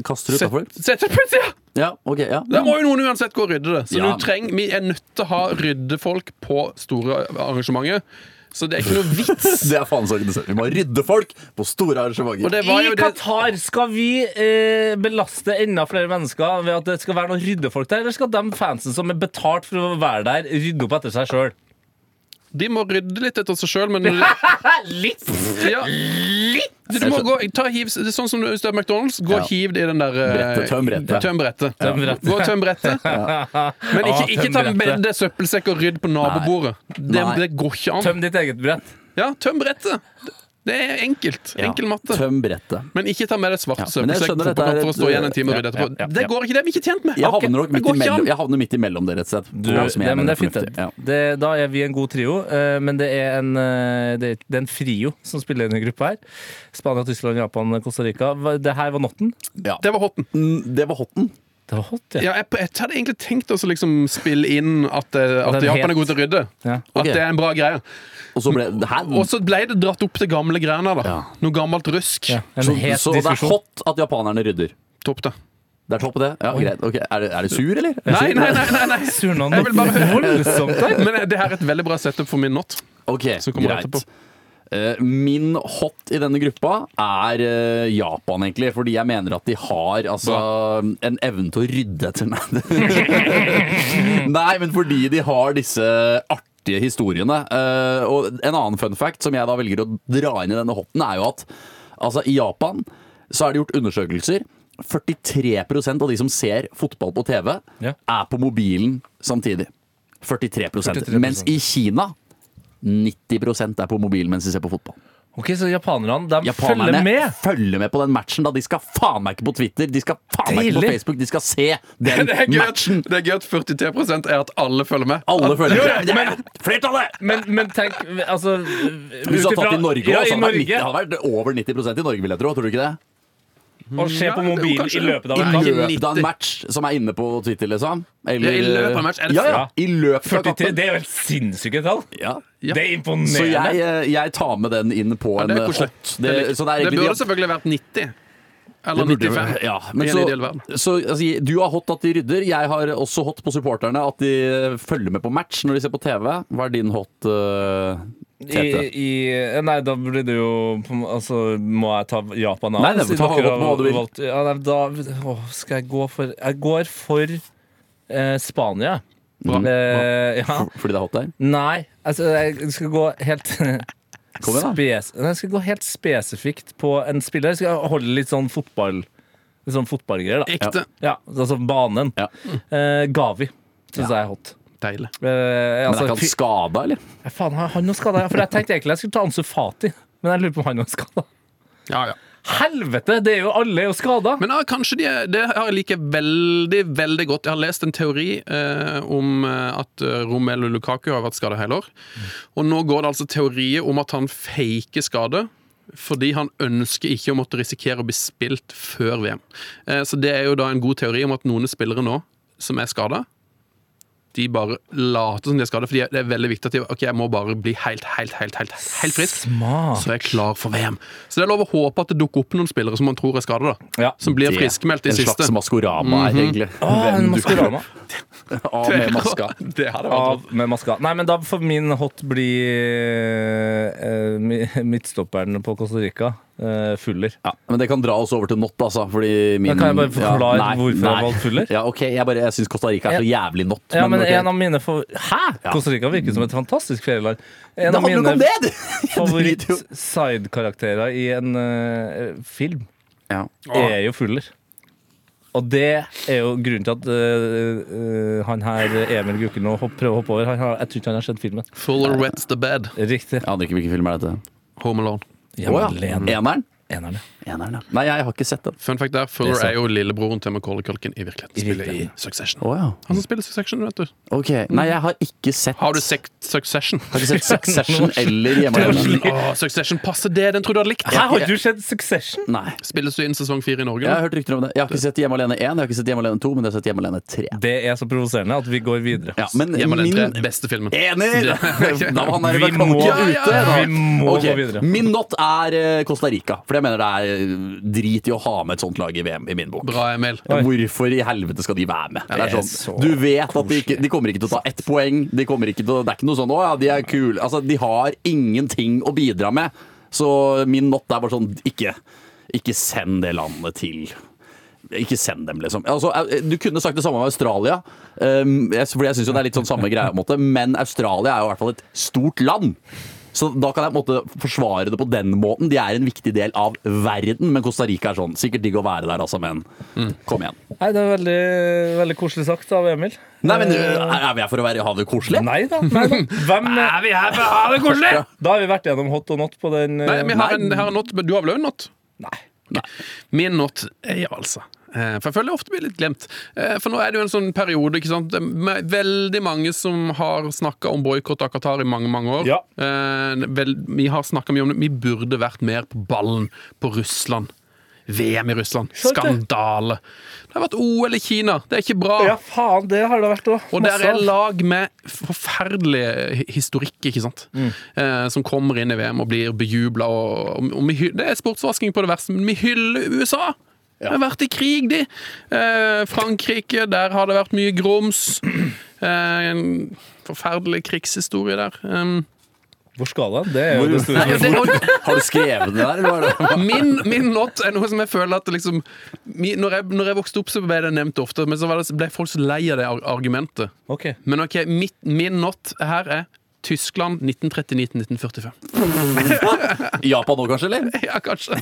[SPEAKER 6] Kaster du utafor?
[SPEAKER 4] Sett- Setter det på utsida!
[SPEAKER 6] Ja, ok, ja. [LAUGHS]
[SPEAKER 4] Da må jo noen uansett gå og rydde det. Så
[SPEAKER 6] Mm. Ja.
[SPEAKER 4] du treng, vi er nødt til å ha ryddefolk på store arrangementer. Så det er ikke noe vits.
[SPEAKER 6] Det er faen så organisert. Vi må rydde folk på store arrangementer.
[SPEAKER 4] Og det var
[SPEAKER 5] I
[SPEAKER 4] jo det
[SPEAKER 5] Qatar, skal vi eh, belaste enda flere mennesker ved at det skal være noen ryddefolk der, eller skal de fansen som er betalt for å være der, rydde opp etter seg sjøl?
[SPEAKER 4] De må rydde litt etter seg sjøl, men
[SPEAKER 5] Litt!
[SPEAKER 4] [LAUGHS]
[SPEAKER 5] [LAUGHS]
[SPEAKER 4] ja. Du må gå, ta, hiv, det er sånn som du hvis det er McDonald's. Gå og hiv det i den der eh,
[SPEAKER 6] Brettet, tøm brettet.
[SPEAKER 4] Tøm brettet.
[SPEAKER 5] Tøm brettet.
[SPEAKER 4] Gå og tøm
[SPEAKER 6] [LAUGHS]
[SPEAKER 4] brettet. Men
[SPEAKER 5] Ah,
[SPEAKER 4] ikke, ikke
[SPEAKER 5] tøm
[SPEAKER 4] ta
[SPEAKER 5] brettet.
[SPEAKER 4] med deg søppelsekk og rydd på nabobordet. Det,
[SPEAKER 6] Nei.
[SPEAKER 4] det går ikke an.
[SPEAKER 5] Tøm ditt eget brett.
[SPEAKER 4] Ja, tøm brettet. Det er enkelt. Enkel matte.
[SPEAKER 6] Tøm brettet.
[SPEAKER 4] Men ikke ta med deg svart
[SPEAKER 6] Ja, men
[SPEAKER 4] søppelsekk
[SPEAKER 6] jeg
[SPEAKER 4] på
[SPEAKER 6] skjønner dette er
[SPEAKER 4] kamp for å
[SPEAKER 6] et-
[SPEAKER 4] stå igjen en time og
[SPEAKER 6] ja,
[SPEAKER 4] rydde etterpå.
[SPEAKER 6] ja, ja,
[SPEAKER 4] Det
[SPEAKER 6] ja.
[SPEAKER 4] går ikke, det er vi ikke tjent med.
[SPEAKER 6] Jeg
[SPEAKER 4] Ok,
[SPEAKER 6] havner nok
[SPEAKER 4] det
[SPEAKER 6] midt
[SPEAKER 4] går ikke
[SPEAKER 6] imellom,
[SPEAKER 4] an.
[SPEAKER 6] jeg havner midt imellom dere, rett og slett.
[SPEAKER 5] Du,
[SPEAKER 6] Ja,
[SPEAKER 5] det,
[SPEAKER 6] som jeg
[SPEAKER 5] men
[SPEAKER 6] mener
[SPEAKER 5] det er fint.
[SPEAKER 6] fornuftig.
[SPEAKER 5] det.
[SPEAKER 6] Ja.
[SPEAKER 5] Det, da er vi en god trio. eh, men det er en, eh, det, det er en frio som spiller i denne gruppa her. Spania, Tyskland, Japan, Costa Rica. Hva- Det her var notten.
[SPEAKER 4] Det var hotten.
[SPEAKER 6] Mm, Det var hotten.
[SPEAKER 5] Det var hot, ja.
[SPEAKER 4] Ja, jeg, jeg hadde egentlig tenkt å liksom spille inn at, eh, at
[SPEAKER 5] Den het-
[SPEAKER 4] Japan er god til å rydde.
[SPEAKER 5] Ja.
[SPEAKER 4] At det er en bra greie.
[SPEAKER 6] Og så ble Hæ?
[SPEAKER 4] Mm. Og så ble det dratt opp til gamle greiene. da
[SPEAKER 6] Ja.
[SPEAKER 4] Noe gammelt rusk.
[SPEAKER 5] ja. En
[SPEAKER 6] Så,
[SPEAKER 5] het
[SPEAKER 6] så det er
[SPEAKER 5] diskusjon.
[SPEAKER 6] hot at japanerne rydder.
[SPEAKER 4] Topp det.
[SPEAKER 6] Det er topp, det. Ja, greit. Ok, Er, det- er det sur, eller?
[SPEAKER 4] Nei, nei, nei! nei, nei.
[SPEAKER 5] Surna
[SPEAKER 4] Jeg vil bare
[SPEAKER 5] noe voldsomt der.
[SPEAKER 4] Men eh, det her er et veldig bra setup for min
[SPEAKER 6] [LAUGHS]
[SPEAKER 4] not.
[SPEAKER 6] Ok,
[SPEAKER 4] Så kommer det
[SPEAKER 6] greit.
[SPEAKER 4] etterpå.
[SPEAKER 6] Eh, Min hot i denne gruppa er eh, Japan, egentlig. Fordi jeg mener at de har altså, en evne til å rydde etter meg. [LAUGHS] Nei, men fordi de har disse artige historiene. Eh, Og en annen fun fact som jeg da velger å dra inn i denne hotten, er jo at altså, i Japan så er det gjort undersøkelser. 43 av de som ser fotball på TV,
[SPEAKER 5] Ja.
[SPEAKER 6] er på mobilen samtidig. 43,
[SPEAKER 5] 43%.
[SPEAKER 6] Mens i Kina 90 er på mobilen mens de ser på fotball.
[SPEAKER 5] Ok, Så japanerne de
[SPEAKER 6] Japanerne
[SPEAKER 5] følger med?
[SPEAKER 6] følger med på den matchen. da De skal faen meg ikke på Twitter, de skal faen meg ikke på
[SPEAKER 5] Deilig.
[SPEAKER 6] Facebook. De
[SPEAKER 4] [LAUGHS]
[SPEAKER 6] skal se den
[SPEAKER 4] Det er gøy at,
[SPEAKER 6] matchen!
[SPEAKER 4] det er gøy at 43 er at alle følger med.
[SPEAKER 6] Alle følger
[SPEAKER 5] Jo, ja,
[SPEAKER 6] med. Det er
[SPEAKER 5] men-
[SPEAKER 6] Flertallet!
[SPEAKER 5] Men, men tenk altså,
[SPEAKER 6] Hvis du hadde
[SPEAKER 5] utifra-
[SPEAKER 6] tatt i Norge,
[SPEAKER 5] ja, i
[SPEAKER 6] også, hadde det vært nitti-
[SPEAKER 5] Norge
[SPEAKER 6] det hadde vært over 90 i Norge, vil jeg tro. Tror du ikke det?
[SPEAKER 5] og se
[SPEAKER 4] Ja, jo,
[SPEAKER 5] på mobilen
[SPEAKER 4] kanskje.
[SPEAKER 5] i løpet av
[SPEAKER 4] Nei,
[SPEAKER 5] en
[SPEAKER 6] I
[SPEAKER 5] kamp.
[SPEAKER 4] ikke
[SPEAKER 6] løpet
[SPEAKER 4] 90.
[SPEAKER 6] av en match som er inne på Twitter, liksom?
[SPEAKER 4] Ja, i løpet av en match, er det
[SPEAKER 6] ja, ja,
[SPEAKER 4] fra-
[SPEAKER 6] i løpet
[SPEAKER 5] 43,
[SPEAKER 6] av kampen.
[SPEAKER 5] det er jo helt sinnssyke tall!
[SPEAKER 6] Ja.
[SPEAKER 5] Det er
[SPEAKER 6] Så
[SPEAKER 5] imponerende.
[SPEAKER 6] jeg, eh, jeg tar med den inn på
[SPEAKER 4] Ja,
[SPEAKER 6] en
[SPEAKER 4] det er
[SPEAKER 6] eh, hot.
[SPEAKER 4] koselig.
[SPEAKER 6] Det,
[SPEAKER 4] Det
[SPEAKER 6] så det er egentlig
[SPEAKER 4] burde selvfølgelig vært 90. Eller
[SPEAKER 6] Det burde
[SPEAKER 4] 95.
[SPEAKER 6] jo- Ja, men
[SPEAKER 4] I en ideell verden.
[SPEAKER 6] så, så altså, du har hot at de rydder. Jeg har også hot på supporterne, at de følger med på match når de ser på TV. Hva er din hot, uh,
[SPEAKER 5] I,
[SPEAKER 6] Tete?
[SPEAKER 5] i, eh, nei, da blir det jo på en må- Altså, må jeg ta Japan av?
[SPEAKER 6] Nei, nei,
[SPEAKER 5] siden
[SPEAKER 6] ta
[SPEAKER 5] dere
[SPEAKER 6] hva- hva
[SPEAKER 5] har
[SPEAKER 6] du vil.
[SPEAKER 5] valgt- Ja, nei, da å, skal jeg gå for Jeg går for eh, Spania.
[SPEAKER 4] Bra.
[SPEAKER 5] Eh, ja.
[SPEAKER 6] Fordi det er hot der?
[SPEAKER 5] Nei, altså, jeg skal gå helt
[SPEAKER 6] [LAUGHS] Kom igjen, da.
[SPEAKER 5] spes Nei, Jeg skal gå helt spesifikt på en spiller. Jeg skal holde litt sånn fotball Litt sånn fotballgreier, da.
[SPEAKER 4] Ekte.
[SPEAKER 5] Ja, altså banen.
[SPEAKER 6] Ja.
[SPEAKER 5] Eh, Gavi syns jeg er hot.
[SPEAKER 4] Deilig.
[SPEAKER 5] Eh,
[SPEAKER 6] Men er
[SPEAKER 5] altså,
[SPEAKER 6] ikke han
[SPEAKER 5] fy-
[SPEAKER 6] skada, eller?
[SPEAKER 5] Ja, Faen, har han noe skada? For jeg tenkte egentlig jeg skulle ta Ansu Fati, men jeg lurer på om han er skada.
[SPEAKER 4] Ja, ja.
[SPEAKER 5] Helvete! det er jo Alle er jo skada!
[SPEAKER 4] Men ja, kanskje de, er- det har jeg liker veldig veldig godt. Jeg har lest en teori eh, om eh, at eh, Romelu Lukaku har vært skada hele år. Og nå går det altså teorier om at han faker skade. Fordi han ønsker ikke å måtte risikere å bli spilt før VM. Eh, Så det er jo da en god teori om at noen spillere nå som er skada, de bare later som de er skada. For det er veldig viktig at de Ok, jeg må bare bli helt, helt, helt, helt, helt frisk.
[SPEAKER 5] Smart.
[SPEAKER 4] Så er jeg klar for VM. Så det er lov å håpe at det dukker opp noen spillere som man tror er skada.
[SPEAKER 5] Ja.
[SPEAKER 4] Som blir
[SPEAKER 6] Det-
[SPEAKER 4] friskmeldt i
[SPEAKER 6] En
[SPEAKER 4] siste.
[SPEAKER 6] slags
[SPEAKER 4] [LAUGHS]
[SPEAKER 6] maskorama
[SPEAKER 4] Mhm.
[SPEAKER 6] her, egentlig.
[SPEAKER 5] Ah, en
[SPEAKER 6] Hvem du-
[SPEAKER 5] Maskorama.
[SPEAKER 6] [LAUGHS] Av med maska.
[SPEAKER 4] Det hadde vært
[SPEAKER 5] Av med maska. Nei, men da får min hot bli eh, mi- midtstopperen på Costa Rica. eh, Fuller.
[SPEAKER 6] Ja, men det kan dra oss over til not, altså. Fordi
[SPEAKER 5] Da
[SPEAKER 6] min,
[SPEAKER 5] kan jeg bare forklare
[SPEAKER 6] nei,
[SPEAKER 5] hvorfor jeg
[SPEAKER 6] nei.
[SPEAKER 5] valgte Fuller.
[SPEAKER 6] Ja, ok, Jeg, bare, jeg syns Costa Rica er så jævlig not.
[SPEAKER 5] Ja, men
[SPEAKER 6] ok.
[SPEAKER 5] en av mine favor... Hæ?!
[SPEAKER 6] Ja.
[SPEAKER 5] Costa Rica virker som et fantastisk ferieland. En
[SPEAKER 6] Det
[SPEAKER 5] av
[SPEAKER 6] handler jo ikke om
[SPEAKER 5] mine [LAUGHS]
[SPEAKER 6] det! driter jo.
[SPEAKER 5] favoritt-sidekarakterer i en eh, film
[SPEAKER 6] Ja.
[SPEAKER 5] er jo Fuller. Og det er jo grunnen til at eh, eh, han her Emil Gukild nå hopp, prøver å hoppe over. Han har, jeg tror ikke han har sett filmen.
[SPEAKER 4] Fuller wets the bed.
[SPEAKER 5] Riktig.
[SPEAKER 6] Jeg aner ikke hvilken film er dette.
[SPEAKER 4] Home Alone.
[SPEAKER 5] Ja,
[SPEAKER 6] Å ja.
[SPEAKER 5] Lene.
[SPEAKER 6] Eneren?
[SPEAKER 5] Enerne.
[SPEAKER 6] Eneren, ja. Nei, jeg har ikke sett den.
[SPEAKER 4] Fun fact der, Fuller er jo lillebroren til Macaulay Culkin i virkeligheten. Spiller i Succession.
[SPEAKER 6] Å ja.
[SPEAKER 4] Han som spiller Succession, vet du.
[SPEAKER 6] Ok. Nei, jeg har ikke sett
[SPEAKER 4] Har du sett Succession?
[SPEAKER 6] Jeg har ikke sett Succession eller Hjemme alene.
[SPEAKER 4] Åh, Succession passer det! Den tror du hadde likt.
[SPEAKER 5] Hæ, har du sett Succession?
[SPEAKER 6] Nei.
[SPEAKER 4] Spilles du inn sesong fire i Norge?
[SPEAKER 6] Jeg har
[SPEAKER 4] nå?
[SPEAKER 6] hørt rykter om det. Jeg har ikke sett Hjemme alene 1, jeg har ikke sett Hjemme alene 2, men jeg har sett Hjemme alene 3.
[SPEAKER 5] Det er så provoserende at vi går videre.
[SPEAKER 6] Ja, men
[SPEAKER 4] Hjemme
[SPEAKER 6] min
[SPEAKER 4] den tre beste filmen. [LAUGHS]
[SPEAKER 6] Ener! [LAUGHS]
[SPEAKER 4] Det-
[SPEAKER 6] Da var han der
[SPEAKER 5] Vi
[SPEAKER 6] med
[SPEAKER 5] må-
[SPEAKER 6] klokke
[SPEAKER 4] ja,
[SPEAKER 5] Ja,
[SPEAKER 6] ute. Da.
[SPEAKER 5] vi må
[SPEAKER 6] Ok,
[SPEAKER 5] gå videre.
[SPEAKER 6] Min not er eh, Costa Rica, for jeg mener det er eh, drit i å ha med et sånt lag i VM, i min bok.
[SPEAKER 4] Bra, Emil.
[SPEAKER 5] Oi.
[SPEAKER 6] Hvorfor i helvete skal de være med? Det
[SPEAKER 5] det
[SPEAKER 6] er
[SPEAKER 5] er
[SPEAKER 6] sånn,
[SPEAKER 5] så
[SPEAKER 6] du vet at de, ikke, de kommer ikke til å ta ett poeng. De kommer ikke til å, det er ikke noe sånn 'Å ja, de er kule'. Altså, de har ingenting å bidra med. Så min not er bare sånn Ikke, ikke send det landet til ikke send dem, liksom. Altså, eh, du kunne sagt det samme om Australia, um, jeg- for jeg syns jo det er litt sånn samme greia, på en måte. men Australia er jo i hvert fall et stort land. Så da kan jeg på en måte forsvare det på den måten. De er en viktig del av verden, men Costa Rica er sånn. Sikkert digg å være der, altså, men kom igjen.
[SPEAKER 5] Nei, det er veldig, veldig koselig sagt av Emil.
[SPEAKER 6] Nei, men Er vi her for å være, ha det koselig?
[SPEAKER 5] Nei da. Nei da. Hvem er vi her for å ha det koselig? Da har vi vært gjennom hot og not på den eh,
[SPEAKER 4] Nei, men jeg har en, jeg har en not, men du har vel også en not?
[SPEAKER 5] Nei.
[SPEAKER 4] Min not er ja, altså eh, For jeg føler jeg ofte blir litt glemt. Eh, For nå er det jo en sånn periode ikke sant? Det er me- veldig mange som har snakka om boikott av Qatar i mange mange år.
[SPEAKER 5] Ja.
[SPEAKER 4] Eh, Vel, vi har snakka mye om det. Vi burde vært mer på ballen på Russland. VM i Russland.
[SPEAKER 5] Sant det.
[SPEAKER 4] Skandale. Det har vært OL i Kina. Det er ikke bra.
[SPEAKER 5] Ja, faen, det har det vært òg.
[SPEAKER 4] Og der er lag med forferdelig historikk, ikke sant? Eh, som kommer inn i VM og blir bejubla. Og, og vi, hy- det er sportsvasking på det verste, men vi hyller USA! De har vært i krig, de! Eh, Frankrike, der har det vært mye grums. Eh, en forferdelig krigshistorie der. Um,
[SPEAKER 5] Hvor skal den? Det er jo det store
[SPEAKER 4] nei, det, og,
[SPEAKER 6] [LAUGHS] Har du skrevet det der, eller var det
[SPEAKER 4] Min, min not er noe som jeg føler at liksom mi- når, jeg, når jeg vokste opp, så ble det nevnt ofte, men så var det, ble folk så lei av det ar- argumentet.
[SPEAKER 5] Ok.
[SPEAKER 4] Men ok, mitt, min not her er Tyskland 1939-1945.
[SPEAKER 6] Japan nå, kanskje? eller?
[SPEAKER 4] [LAUGHS] Ja, kanskje.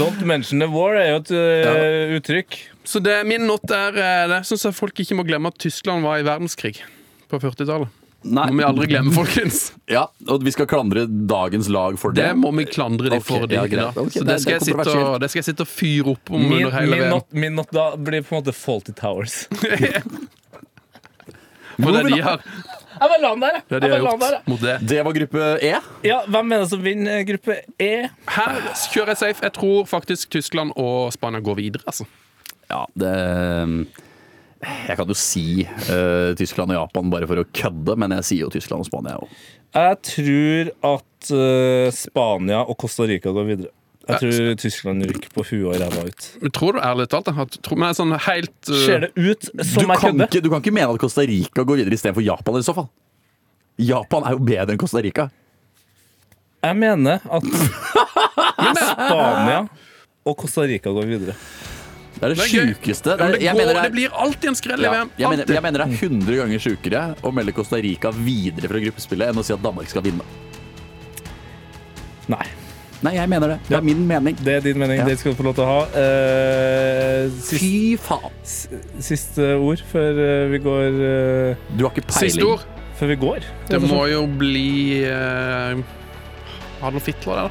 [SPEAKER 5] Don't mention the war er jo et eh, uttrykk.
[SPEAKER 4] Så Sånn det, min not er eh, Det syns jeg folk ikke må glemme at Tyskland var i verdenskrig på 40-tallet.
[SPEAKER 6] Nei.
[SPEAKER 4] Må vi aldri
[SPEAKER 6] [LAUGHS]
[SPEAKER 4] glemme, folkens.
[SPEAKER 6] Ja, og vi skal klandre dagens lag for det.
[SPEAKER 4] Det må vi klandre de
[SPEAKER 6] Ok,
[SPEAKER 4] for.
[SPEAKER 6] ja,
[SPEAKER 4] de ikke
[SPEAKER 6] greit.
[SPEAKER 4] da.
[SPEAKER 6] Ok,
[SPEAKER 4] Så
[SPEAKER 6] det-
[SPEAKER 4] det skal,
[SPEAKER 6] det er
[SPEAKER 4] jeg sitte og,
[SPEAKER 6] kontroversielt.
[SPEAKER 4] det skal jeg sitte og fyre opp om
[SPEAKER 5] Min,
[SPEAKER 4] under hele
[SPEAKER 5] min,
[SPEAKER 4] VM.
[SPEAKER 5] not, min not da blir på en måte Faulty Towers.
[SPEAKER 4] For det de har,
[SPEAKER 5] Jeg bare la den der, jeg.
[SPEAKER 4] det
[SPEAKER 5] jeg.
[SPEAKER 4] de har
[SPEAKER 5] bare la den
[SPEAKER 4] gjort
[SPEAKER 5] der, jeg.
[SPEAKER 4] mot det.
[SPEAKER 6] Det var gruppe E.
[SPEAKER 5] Ja, Hvem er det som vinner eh, gruppe E?
[SPEAKER 4] Her kjører jeg safe. Jeg tror faktisk Tyskland og Spania går videre, altså.
[SPEAKER 6] Ja, det Jeg kan jo si eh, Tyskland og Japan bare for å kødde, men jeg sier jo Tyskland og Spania òg.
[SPEAKER 5] Jeg tror at eh, Spania og Costa Rica går videre. Jeg tror Tyskland rykker på huet og ræva ut.
[SPEAKER 4] Men Tror du ærlig talt da, at tror, men jeg er sånn helt uh,
[SPEAKER 5] Ser det ut
[SPEAKER 6] Du,
[SPEAKER 5] som jeg
[SPEAKER 6] kan
[SPEAKER 5] kødder?
[SPEAKER 6] ikke- du kan ikke mene at Costa Rica går videre istedenfor Japan, i så fall. Japan er jo bedre enn Costa Rica.
[SPEAKER 5] Jeg mener at Spania og Costa Rica går videre.
[SPEAKER 6] Det er det,
[SPEAKER 4] Det er gøy.
[SPEAKER 6] sjukeste.
[SPEAKER 4] Ja,
[SPEAKER 6] Det,
[SPEAKER 4] men
[SPEAKER 6] er-
[SPEAKER 4] det,
[SPEAKER 6] jeg
[SPEAKER 4] går,
[SPEAKER 6] mener
[SPEAKER 4] det,
[SPEAKER 6] det er-
[SPEAKER 4] blir alltid en skrell i
[SPEAKER 6] ja,
[SPEAKER 4] VM.
[SPEAKER 6] jeg mener,
[SPEAKER 4] Alltid.
[SPEAKER 6] jeg mener det er 100 ganger sjukere å melde Costa Rica videre fra gruppespillet enn å si at Danmark skal vinne.
[SPEAKER 5] Nei.
[SPEAKER 6] Nei, jeg mener det. Det er min mening.
[SPEAKER 5] Det er din mening.
[SPEAKER 6] Ja.
[SPEAKER 5] Det skal du få lov til å ha. Eh, sist,
[SPEAKER 6] Fy faen.
[SPEAKER 5] s- siste ord før eh, vi går eh,
[SPEAKER 6] Du har ikke peiling.
[SPEAKER 4] Siste ord.
[SPEAKER 5] Før vi går?
[SPEAKER 4] Det må jo bli uh, Adolf Hitler,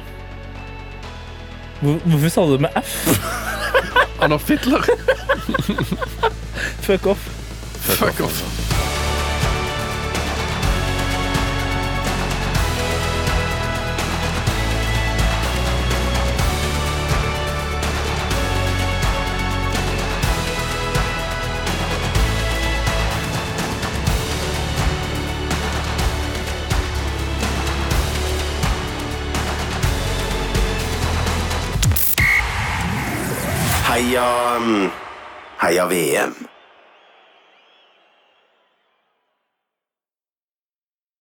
[SPEAKER 4] det, da.
[SPEAKER 5] Hvor- Hvorfor sa du det med F?
[SPEAKER 4] Adolf Hitler.
[SPEAKER 5] Fuck off.
[SPEAKER 4] [LAUGHS] Fuck off.
[SPEAKER 3] Heia mm, Heia VM.